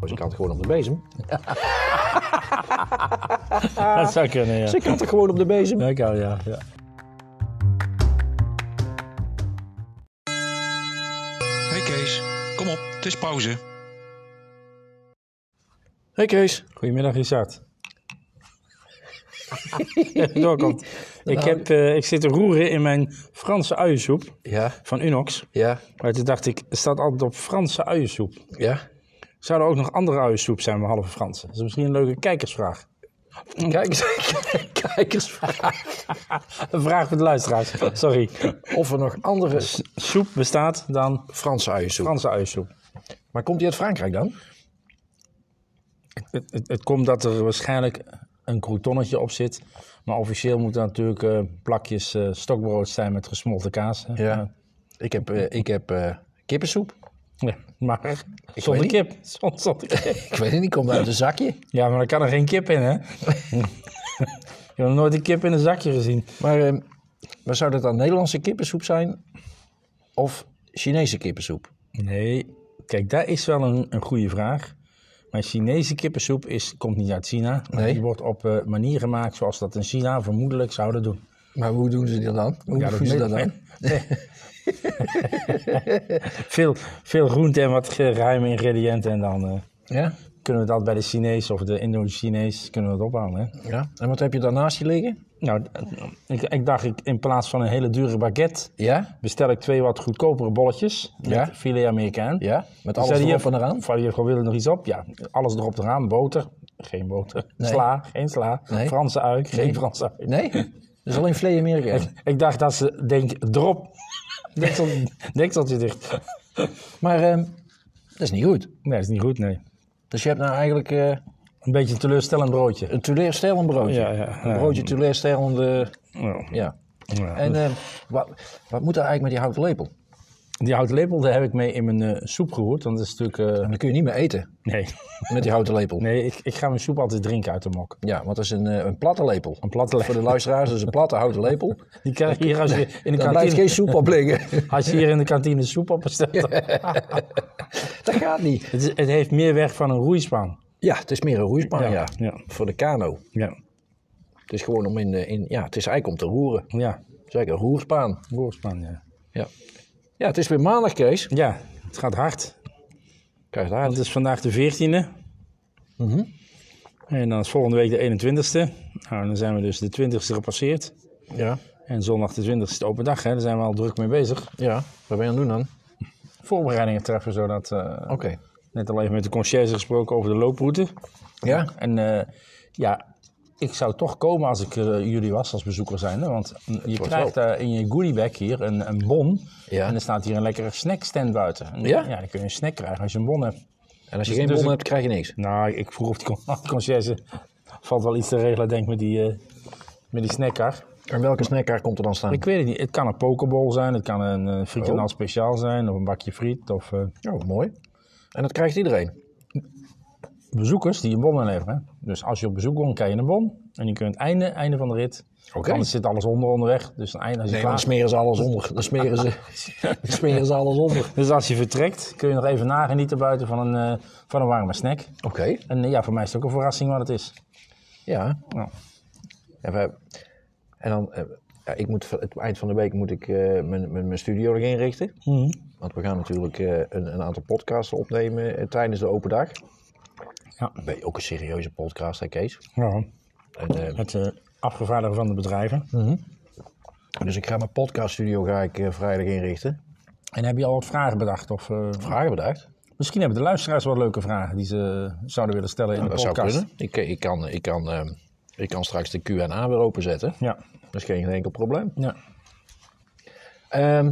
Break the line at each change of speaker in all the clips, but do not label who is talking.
Dus ik had het gewoon op de bezem.
Dat zou kunnen, ja.
Dus ik had het gewoon op de bezem.
Dat kan, ja. ja.
Hey Kees, kom op, het is pauze.
Hey Kees.
Goedemiddag, Richard. Even doorkomt. Ik, heb, eh, ik zit te roeren in mijn Franse uiensoep
Ja,
van Unox.
ja,
Maar toen dacht ik, het staat altijd op Franse uiensoep.
ja.
Zou er ook nog andere uiensoep zijn behalve Franse? Dat is misschien een leuke kijkersvraag.
Kijk, kijkersvraag.
Een vraag voor de luisteraars, sorry.
Of er nog andere s-
Soep bestaat dan
Franse uiensoep.
Franse uiensoep.
Maar komt die uit Frankrijk dan?
Het, het, het komt dat er waarschijnlijk een croutonnetje op zit. Maar officieel moeten er natuurlijk eh, plakjes eh, stokbrood zijn met gesmolten kaas. hè. Eh,
Ik heb, eh, ik heb eh, kippensoep.
ja, maar zonder
weet
kip. Zonder, zonder kip.
Ik weet het niet, komt uit een zakje.
Ja, maar er kan er geen kip in, hè? Je hebt nog nooit een kip in een zakje gezien.
Maar, eh, maar zou dat dan Nederlandse kippensoep zijn? Of Chinese kippensoep?
Nee, kijk, dat is wel een, een goede vraag. Mijn Chinese kippensoep is, komt niet uit China. Maar
Nee.
die wordt op eh, manier gemaakt zoals dat in China vermoedelijk zouden doen.
Maar hoe doen ze dat dan? Hoe doen ze
meen-
dat dan?
Nee. veel, veel groente en wat geheime ingrediënten. En dan eh,
Ja?
kunnen we dat bij de Chinees of de Indo-Chinees kunnen we dat ophalen. Hè?
ja. En wat heb je daarnaast je liggen?
Nou, ik, ik dacht, ik, in plaats van een hele dure baguette,
Ja?
bestel ik twee wat goedkopere bolletjes.
Ja.
Met filet Amerikaan.
Ja? Met
Zei
alles
die
erop
juffrouw-
en eraan?
Van die juffrouw, wil je nog iets op? Ja, alles erop en eraan. Boter, geen boter.
Nee.
Sla, geen sla.
Nee.
Franse ui, geen Franse ui.
Nee? Dat is alleen Vlee Amerika.
Ik dacht dat ze denkt, drop. Deksel, dekseltje dicht.
Maar ehm, dat is niet goed.
Nee, dat is niet goed, nee.
Dus je hebt nou eigenlijk eh,
Een beetje een teleurstellend broodje.
een teleurstellend broodje.
Ja, ja.
Een broodje teleurstellende...
Ja.
Ja.
Ja.
En ehm, wat, wat moet er eigenlijk met die houten lepel?
Die houten lepel, daar heb ik mee in mijn eh, soep geroerd. Want dat is natuurlijk... eh,
Dan kun je niet meer eten
nee,
met die houten lepel.
nee ik, ik ga mijn soep altijd drinken uit de mok.
Ja, want dat is een, eh, een platte lepel.
Een platte
Voor
lepel.
de luisteraars, dat is een platte houten lepel.
Die krijg je hier als je in de
Daar blijft
kantine...
geen soep op liggen.
Als je hier in de kantine soep op bestelt.
dat gaat niet.
Het, is- het heeft meer weg van een roeispaan.
Ja, het is meer een roeispan, ja.
Ja, ja.
Voor de kano.
Ja.
Het is gewoon om in, de- in... Ja, het is eigenlijk om te roeren.
Ja,
Het is eigenlijk een roerspaan.
roerspaan, ja.
Ja. Ja, het is weer maandag, Kees.
Ja, het gaat hard.
Kijk daar.
Het is vandaag de 14e. Mhm. En dan is volgende week de 21ste. Nou, dan zijn we dus de 20ste gepasseerd.
Ja.
En zondag de 20ste open dag, hè. daar zijn we al druk mee bezig.
Ja, wat ben je aan het doen dan?
Voorbereidingen treffen, zodat... eh,
Oké.
net al even met de conciërge gesproken over de looproute.
Ja?
En eh, ja, ik zou toch komen als ik eh, jullie was, als bezoeker zijnde. Want je
wordt
krijgt daar in je goodiebag hier een, een bon.
Ja.
En er staat hier een lekkere snackstand buiten. En
Ja?
Ja, dan kun je een snack krijgen als je een bon hebt.
En als je
Dus-
geen
dus
bon
ik-
hebt, krijg je niks.
Nou, ik vroeg of die con- de conciërge valt wel iets te regelen, denk ik, met die, eh met die snackkar.
En welke snackkaart komt er dan staan?
Ik weet het niet. Het kan een pokeball zijn, het kan een eh frikandel speciaal zijn, of een bakje friet, of eh,
Oh, mooi. En dat krijgt iedereen.
bezoekers die een bon aanleveren. hè. Dus als je op bezoek komt, krijg je een bon. En je kunt einde, einde van de rit.
Oké.
Oké. Anders zit alles onder onderweg. Dus, een einde, als je
Nee, want dan
klaar-
smeren ze alles onder. Dan smeren ze, dan smeren ze alles onder.
dus als je vertrekt, kun je nog even nagenieten buiten van een, eh, van een warme snack.
Oké,
En eh, ja, voor mij is het ook een verrassing wat het is.
ja.
Nou,
En, we- en dan, eh, ja, ik moet, van- het eind van de week moet ik eh, mijn, mijn, mijn studio nog inrichten. Want we gaan natuurlijk eh, een, een aantal podcasts opnemen eh, tijdens de open dag.
Ja.
Ben je ook een serieuze podcast, hè Kees?
ja. Hm.
En, eh,
Het eh, afgevaardigen van de bedrijven.
dus ik ga mijn podcaststudio ga ik, eh, vrijdag inrichten.
En heb je al wat vragen bedacht? Of, eh,
Vragen bedacht?
misschien hebben de luisteraars wel leuke vragen die ze zouden willen stellen in
Nou,
de
dat zou
podcast.
kunnen. Ik, ik, kan, ik, kan, eh, ik kan straks de Q&A weer openzetten.
Ja.
Dat is geen enkel probleem.
ja.
Ehm,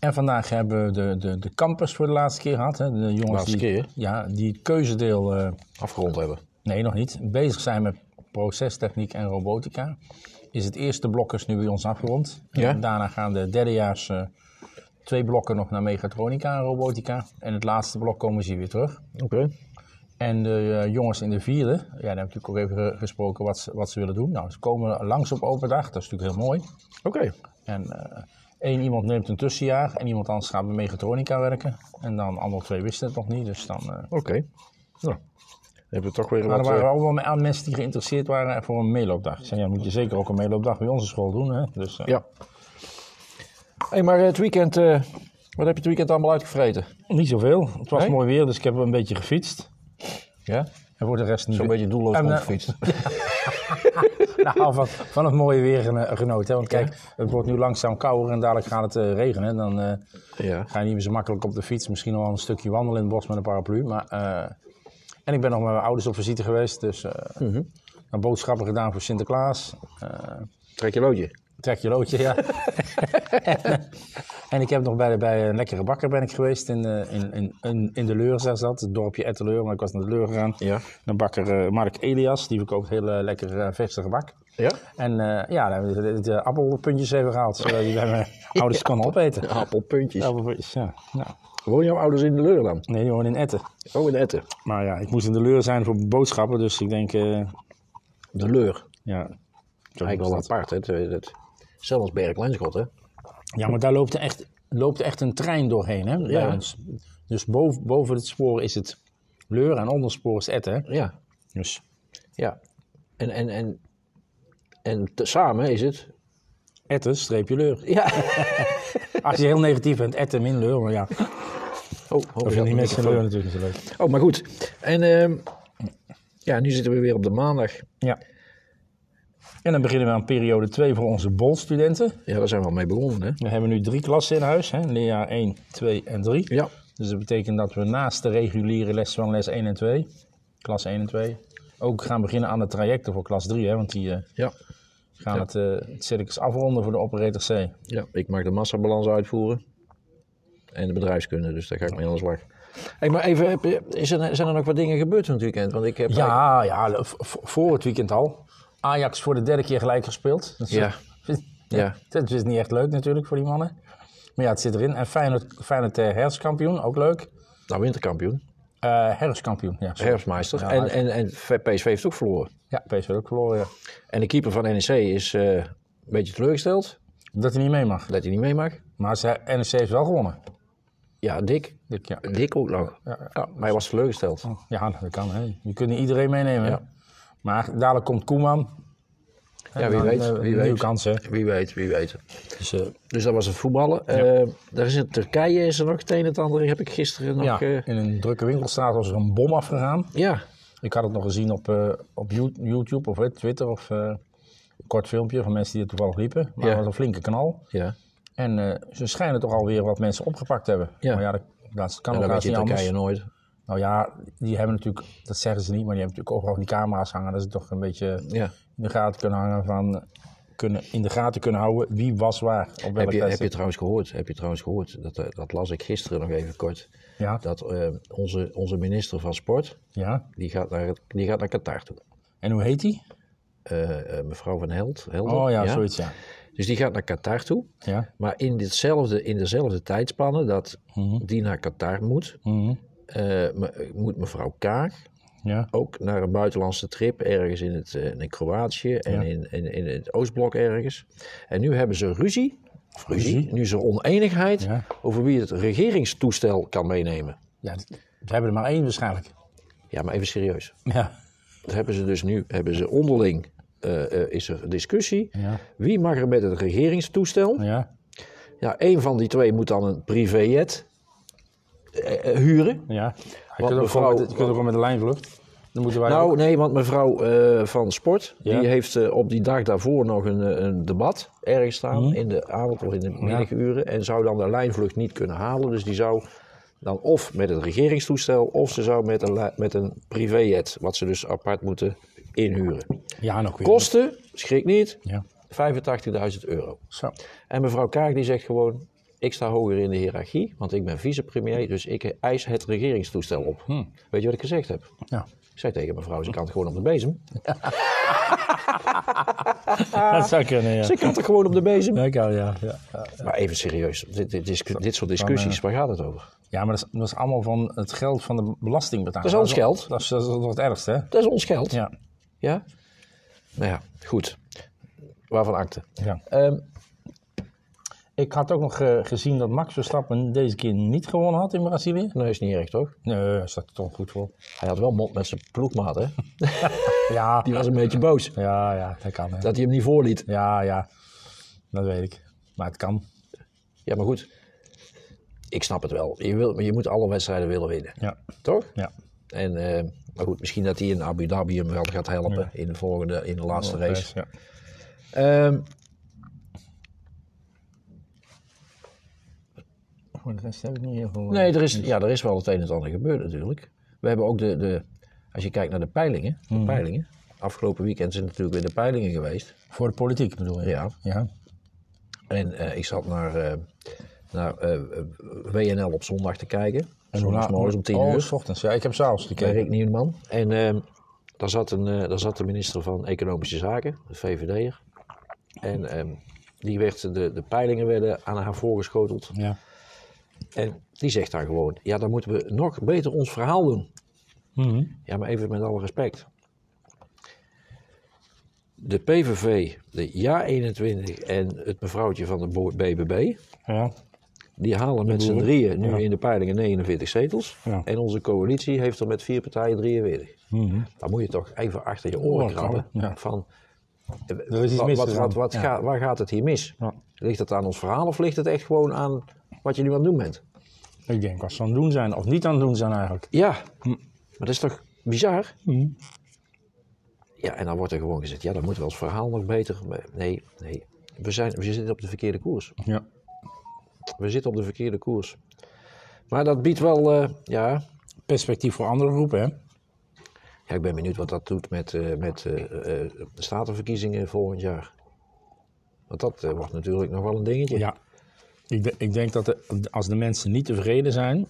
En vandaag hebben we de, de, de campus voor de laatste keer gehad. Hè? De jongens
Laatste
die,
keer?
Ja, die het keuzedeel, eh,
afgerond hebben.
nee nog niet, bezig zijn met procestechniek en robotica. Is het eerste blok is nu bij ons afgerond.
Ja.
En daarna gaan de derdejaars eh, twee blokken nog naar mechatronica en robotica. En het laatste blok komen ze hier weer terug.
Oké.
En de eh, jongens in de vierde, ja, daar hebben natuurlijk ook even eh, gesproken wat ze, wat ze willen doen. Nou, ze komen langs op open dag, dat is natuurlijk heel mooi.
Oké.
En eh, Eén iemand neemt een tussenjaar en iemand anders gaat bij mechatronica werken. En dan andere twee wisten het nog niet. Dus dan eh,
Oké. Nou, dan hebben we toch weer
maar
wat...
er waren
eh,
wel wel aan mensen die geïnteresseerd waren voor een meeloopdag. Ik zei, ja, moet je zeker ook een meeloopdag bij onze school doen. Hè? Dus, eh,
ja. hey, maar eh, het weekend... eh, wat heb je het weekend allemaal uitgevreten?
Niet zoveel. Het was
Nee?
mooi weer, dus ik heb een beetje gefietst.
Ja?
En voor de rest niet.
Zo'n beetje doelloos
En, eh,
rondgefietst.
Nou, van, van het mooie weer geno- genoten. hè. Want kijk, het wordt nu langzaam kouder en dadelijk gaat het eh, regenen. En Dan eh,
ja.
ga je niet meer zo makkelijk op de fiets. Misschien nog wel een stukje wandelen in het bos met een paraplu. Maar, eh, en ik ben nog met mijn ouders op visite geweest. Dus eh heb boodschappen gedaan voor Sinterklaas. Eh,
Trek je loodje.
trek je loodje, ja. en ik heb nog bij, bij een lekkere bakker ben ik geweest in, eh, in, in, in, in de Leur, zei ze dat. Het dorpje Etteleur, maar ik was naar de Leur gegaan.
Ja.
Een bakker eh, Mark Elias, die verkoopt heel eh, lekker eh, verse gebak.
Ja?
En eh, ja, daar hebben we de, de appelpuntjes even gehaald, zodat die bij mijn ouders kon opeten.
Appelpuntjes.
Appelpuntjes, ja. Nou,
Woon jouw ouders in de leur dan?
nee, die wonen in Etten.
Oh, in Etten.
Maar ja, ik moest in de leur zijn voor boodschappen, dus ik denk, eh,
De leur.
ja. zo
Eigenlijk wel
is dat.
apart, hè? Dat- dat- Zelfs als Berg-Lenschot, hè?
Ja, maar daar loopt echt, loopt echt een trein doorheen, hè, bij
Ja.
ons. Dus boven, boven het spoor is het leur en onder het spoor is Etten. hè.
Ja.
Dus
Ja. En, en, en, en te- samen is het...
Etten streepje leur.
Ja.
Als je heel negatief bent, Etten min leur, maar ja.
Oh, oh,
Dat
ja,
vinden die mensen in
microfoon.
leur natuurlijk niet zo leuk.
Oh, maar goed. En ehm, ja, nu zitten we weer op de maandag.
Ja. En dan beginnen we aan periode 2 voor onze bolstudenten.
Ja, daar zijn we al mee begonnen, hè?
We hebben nu drie klassen in huis, hè? leerjaar 1, 2 en 3.
Ja.
Dus dat betekent dat we naast de reguliere les van les 1 en 2, klas 1 en 2, ook gaan beginnen aan de trajecten voor klas 3. Hè? Want die eh,
Ja.
gaan
Ja.
het, eh, het circus afronden voor de operator C.
ja. Ik mag de massabalans uitvoeren. En de bedrijfskunde, dus daar ga ik mee aan de slag. Hey, maar even, heb je- is er, zijn er nog wat dingen gebeurd van het weekend? Want ik heb...
Ja, ja, le- v- v- voor het weekend al. Ajax voor de derde keer gelijk gespeeld. Dat is-
Ja. Ja.
Dat is niet echt leuk natuurlijk voor die mannen. Maar ja, het zit erin. En Feyenoord, Feyenoord eh, herfstkampioen, ook leuk.
Nou, winterkampioen.
Eh herfstkampioen, ja. sorry.
Herfstmeister.
Ja,
en, en, en PSV heeft ook verloren.
Ja, PSV ook verloren, ja.
En de keeper van NEC is eh, een beetje teleurgesteld
Dat hij niet mee mag.
dat hij niet mee mag.
Maar ze, NEC heeft wel gewonnen.
Ja, dik.
Dik, ja.
Dik ook nog. Ja, Oh, maar hij was teleurgesteld.
ja, dat kan. Hè. Je kunt niet iedereen meenemen.
Ja.
Maar dadelijk komt Koeman.
Ja, wie
Dan,
weet.
eh,
Wie
nieuwe
weet.
kans, hè.
Wie weet, wie weet.
Dus, eh,
Dus dat was het voetballen. Eh, daar is in Turkije is er nog het een en het ander. Heb ik gisteren nog...
ja,
eh,
in een drukke winkelstraat was er een bom afgegaan.
ja.
Ik had het nog gezien op, eh, op You- YouTube of eh, Twitter of eh, een kort filmpje van mensen die er toevallig liepen. Maar
Ja.
het was een flinke knal.
ja.
En eh, ze schijnen toch alweer wat mensen opgepakt te hebben.
Ja.
Maar ja, dat, dat kan
En
ook
dat weet je
niet
in
anders.
Turkije nooit.
Nou ja, die hebben natuurlijk, dat zeggen ze niet, maar die hebben natuurlijk overal die camera's hangen. Dat is toch een beetje
Ja.
in de gaten kunnen hangen van kunnen, in de gaten kunnen houden wie was waar op
Heb
welk
je, heb je
tijdstip.
trouwens gehoord, heb je trouwens gehoord dat, eh, dat las ik gisteren nog even kort,
Ja,
dat eh, onze, onze minister van Sport,
ja.
die gaat naar, het- die gaat naar Qatar toe.
En hoe heet die?
Eh, eh, mevrouw van Held, Helder.
Oh ja, zoiets ja.
Dus die gaat naar Qatar toe.
Ja.
Maar in, ditzelfde, in dezelfde tijdspannen dat die naar Qatar moet,
Mhm.
eh, me- moet mevrouw Kaag
ja.
ook naar een buitenlandse trip ergens in, het, eh, in Kroatië en
Ja.
in, in, in het Oostblok ergens. En nu hebben ze ruzie, of ruzie,
Ruzie.
nu is er oneenigheid
Ja.
over wie het regeringstoestel kan meenemen.
Ja, dat- we hebben er maar één waarschijnlijk.
Ja, maar even serieus.
Ja.
Dat hebben ze dus nu, hebben ze onderling, eh, eh, is er discussie.
Ja.
Wie mag er met het regeringstoestel?
Ja.
Ja, één van die twee moet dan een privéjet eh, eh, huren.
Ja. Je kunt, ook
mevrouw-
gewoon met, je kunt ook wel met de lijnvlucht. Dan moeten wij ook-
Nou, nee, want mevrouw eh, van Sport,
Ja.
die heeft eh, op die dag daarvoor nog een, eh, een debat ergens staan in de avond of in de middaguren. En zou dan de lijnvlucht niet kunnen halen. Dus die zou dan of met het regeringstoestel, of ze zou met een, li- met een privéjet, wat ze dus apart moeten inhuren.
Ja, nog weer.
Kosten, schrik niet,
Ja.
85.000 euro.
Zo.
En mevrouw Kaag die zegt gewoon, ik sta hoger in de hiërarchie, want ik ben vicepremier, dus ik eis het regeringstoestel op.
Hm.
Weet je wat ik gezegd heb?
Ja.
Ik zei tegen mevrouw, ze kan het gewoon op de bezem.
Dat zou kunnen, ja.
Ah. Ze kan het gewoon op de bezem.
Ja, ik al, ja. ja.
Maar even serieus, dit, dit, is- dit soort discussies, waar gaat het over?
Ja, maar dat is, dat is allemaal van het geld van de belastingbetaler.
Dat is ons geld.
Dat is, dat is nog het ergste, hè?
Dat is ons geld. Ja.
Ja.
Nou ja, goed. Waarvan akte.
ja.
Ehm,
Ik had ook nog eh, gezien dat Max Verstappen deze keer niet gewonnen had in Brazilië.
Nee, nou, is niet erg, toch?
Nee, daar staat er toch goed voor.
Hij had wel mond met zijn ploegmaat, hè?
Ja,
Die was een beetje boos
ja, ja dat kan. Hè.
dat hij hem niet voorliet.
Ja, ja, dat weet ik. Maar het kan.
Ja, maar goed. Ik snap het wel. Je, wil, je moet alle wedstrijden willen winnen,
Ja,
toch?
ja.
En, eh, maar goed, misschien dat hij in Abu Dhabi hem wel gaat helpen in, de volgende, in de laatste race.
Ja.
Ehm,
Voor de rest heb ik niet heel veel. eh,
nee, er is, ja, er is wel het een en het ander gebeurd natuurlijk. We hebben ook de, de als je kijkt naar de peilingen, de
Hmm.
peilingen. Afgelopen weekend zijn natuurlijk weer de peilingen geweest.
Voor de politiek bedoel je?
Ja.
ja.
En eh, ik zat naar, eh, naar eh, WNL op zondag te kijken. En
Hoe laat-
morgens om tien
oh,
uur.
s ochtends. Ja, ik heb s'avonds
bij
gekeken.
Rick Nieuwman. En ehm, daar, zat een, eh, daar zat de minister van Economische Zaken, de VVD'er. En ehm, die werd, de, de peilingen werden aan haar voorgeschoteld.
Ja.
En die zegt daar gewoon, ja dan moeten we nog beter ons verhaal doen.
Mhm.
Ja, maar even met alle respect. De PVV, de JA21 en het mevrouwtje van de bo- BBB...
ja.
die halen met z'n drieën nu in de peilingen 49 zetels.
Ja.
En onze coalitie heeft er met vier partijen 43.
Mhm.
Dan moet je toch even achter je oren
Oren
krabben.
krabben, ja.
Van, eh,
Er is iets
wat, wat,
misgegaan.
wat, wat
dus Ja.
gaat- waar gaat het hier mis?
Ja.
Ligt het aan ons verhaal of ligt het echt gewoon aan wat je nu aan het doen bent?
Ik denk wat ze aan het doen zijn, of niet aan het doen zijn eigenlijk.
Ja, Hm. maar dat is toch bizar?
Mhm.
Ja, en dan wordt er gewoon gezegd, ja, dan moeten we ons verhaal nog beter... Nee, nee. We, zijn, we zitten op de verkeerde koers.
Ja.
We zitten op de verkeerde koers. Maar dat biedt wel, eh, ja,
Perspectief voor andere groepen, hè?
Ja, ik ben benieuwd wat dat doet met, eh, met eh, eh, de statenverkiezingen volgend jaar. Want dat eh, wordt natuurlijk nog wel een dingetje.
Ja. Ik, de- ik denk dat de- als de mensen niet tevreden zijn,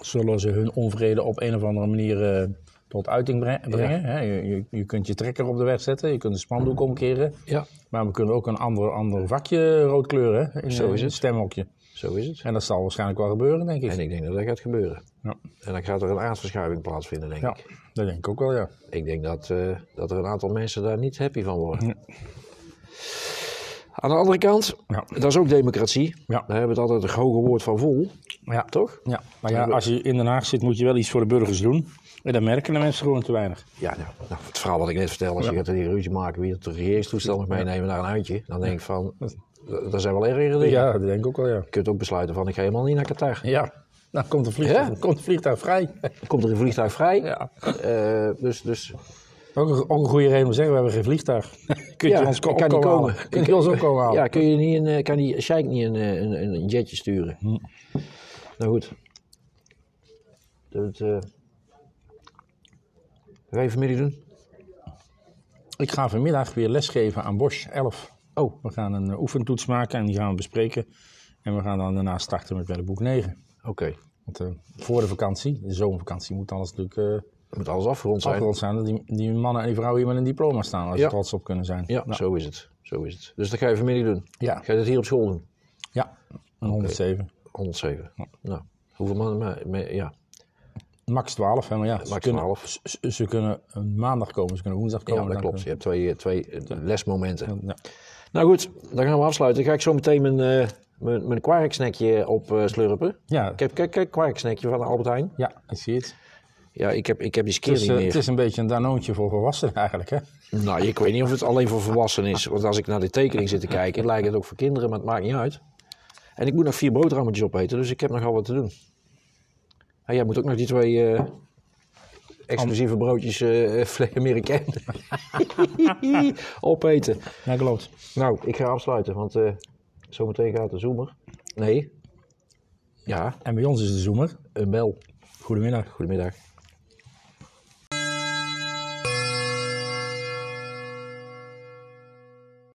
zullen ze hun onvrede op een of andere manier eh, tot uiting bre- brengen. Hè? Je, je, je kunt je trekker op de weg zetten, je kunt een spandoek omkeren.
Ja,
Maar we kunnen ook een ander, ander vakje rood kleuren hè? in
Zo
eh,
is het.
stemhokje.
zo is het.
En dat zal waarschijnlijk wel gebeuren, denk ik.
En ik denk dat dat gaat gebeuren.
Ja.
En dan gaat er een aardverschuiving plaatsvinden, denk
ja,
ik.
dat denk ik ook wel, ja.
Ik denk dat, eh, dat er een aantal mensen daar niet happy van worden. Aan de andere kant,
Ja.
dat is ook democratie.
Ja.
Daar hebben we het altijd het hoge woord van vol,
ja.
toch?
Ja, maar ja, als je in Den Haag zit, moet je wel iets voor de burgers doen. En dat merken de mensen gewoon te weinig.
Ja, nou, nou, het verhaal wat ik net vertelde, als je gaat die ruzie maken, wie het regeringstoestel mag meenemen naar een uitje, dan denk ik van, d- er zijn wel ergere dingen.
Ja, dat denk ik ook wel, ja.
Je kunt ook besluiten van ik ga helemaal niet naar Qatar.
Ja, dan komt de vliegtuig,
Ja?
komt de vliegtuig vrij.
Komt er een vliegtuig vrij?
Ja.
Eh, dus, dus
Ook een, ook een goede reden om te zeggen, we hebben geen vliegtuig. Kun je
ja,
ons ko-
ik kan
ook
niet
komen
komen.
halen? Kun je ons ook komen halen?
Ja, kun je niet een, eh, kan die Sheikh niet een, eh, een, een jetje sturen?
Hm.
Nou goed. Dat, eh Ga je vanmiddag doen?
Ik ga vanmiddag weer lesgeven aan Bosch 11.
Oh.
We gaan een eh, oefentoets maken en die gaan we bespreken. En we gaan dan daarna starten met Wellenboek 9.
Oké.
Want eh, voor de vakantie, de zomervakantie, moet alles natuurlijk eh
Moet alles afgerond zijn.
afgerond zijn. Dat die, die mannen en die vrouwen hier met een diploma staan, als ze
Ja.
trots op kunnen zijn.
Ja,
Nou,
zo is het. Zo is het. Dus dat ga je vanmiddag doen.
Ja.
Ga je dat hier op school doen?
ja, een 107.
107. Nou, hoeveel mannen? maar- maar-
Oh,
Ja,
Max 12, hè, maar ja, ze
Max
kunnen,
12.
ze- Ze, ze kunnen eh, maandag komen, ze kunnen woensdag
ja
komen.
dat
dan
klopt. Je hebt twee, eh, twee eh, lesmomenten.
kunnen- ja.
Nou goed, dan gaan we afsluiten. Dan ga ik zo meteen mijn, eh mijn, mijn kwarksnackje op eh, slurpen.
Ja.
Kijk, kijk, kijk, kwarksnackje van Albert Heijn.
ja, ik zie het.
Ja, ik heb, ik heb die skeer
Het is,
niet
eh,
meer.
het is een beetje een danoontje voor volwassenen eigenlijk, hè?
Nou, ik weet niet of het alleen voor volwassenen is. Want als ik naar de tekening zit te kijken, lijkt het ook voor kinderen, maar het maakt niet uit. En ik moet nog vier boterhammetjes opeten, dus ik heb nogal wat te doen. En jij moet ook nog die twee eh, exclusieve broodjes eh Fle- Amerikaan opeten.
Ja, klopt.
Nou, ik ga afsluiten, want eh, zometeen gaat de zoomer. Nee. Ja,
En bij ons is de zoemer.
een bel.
Goedemiddag.
Goedemiddag.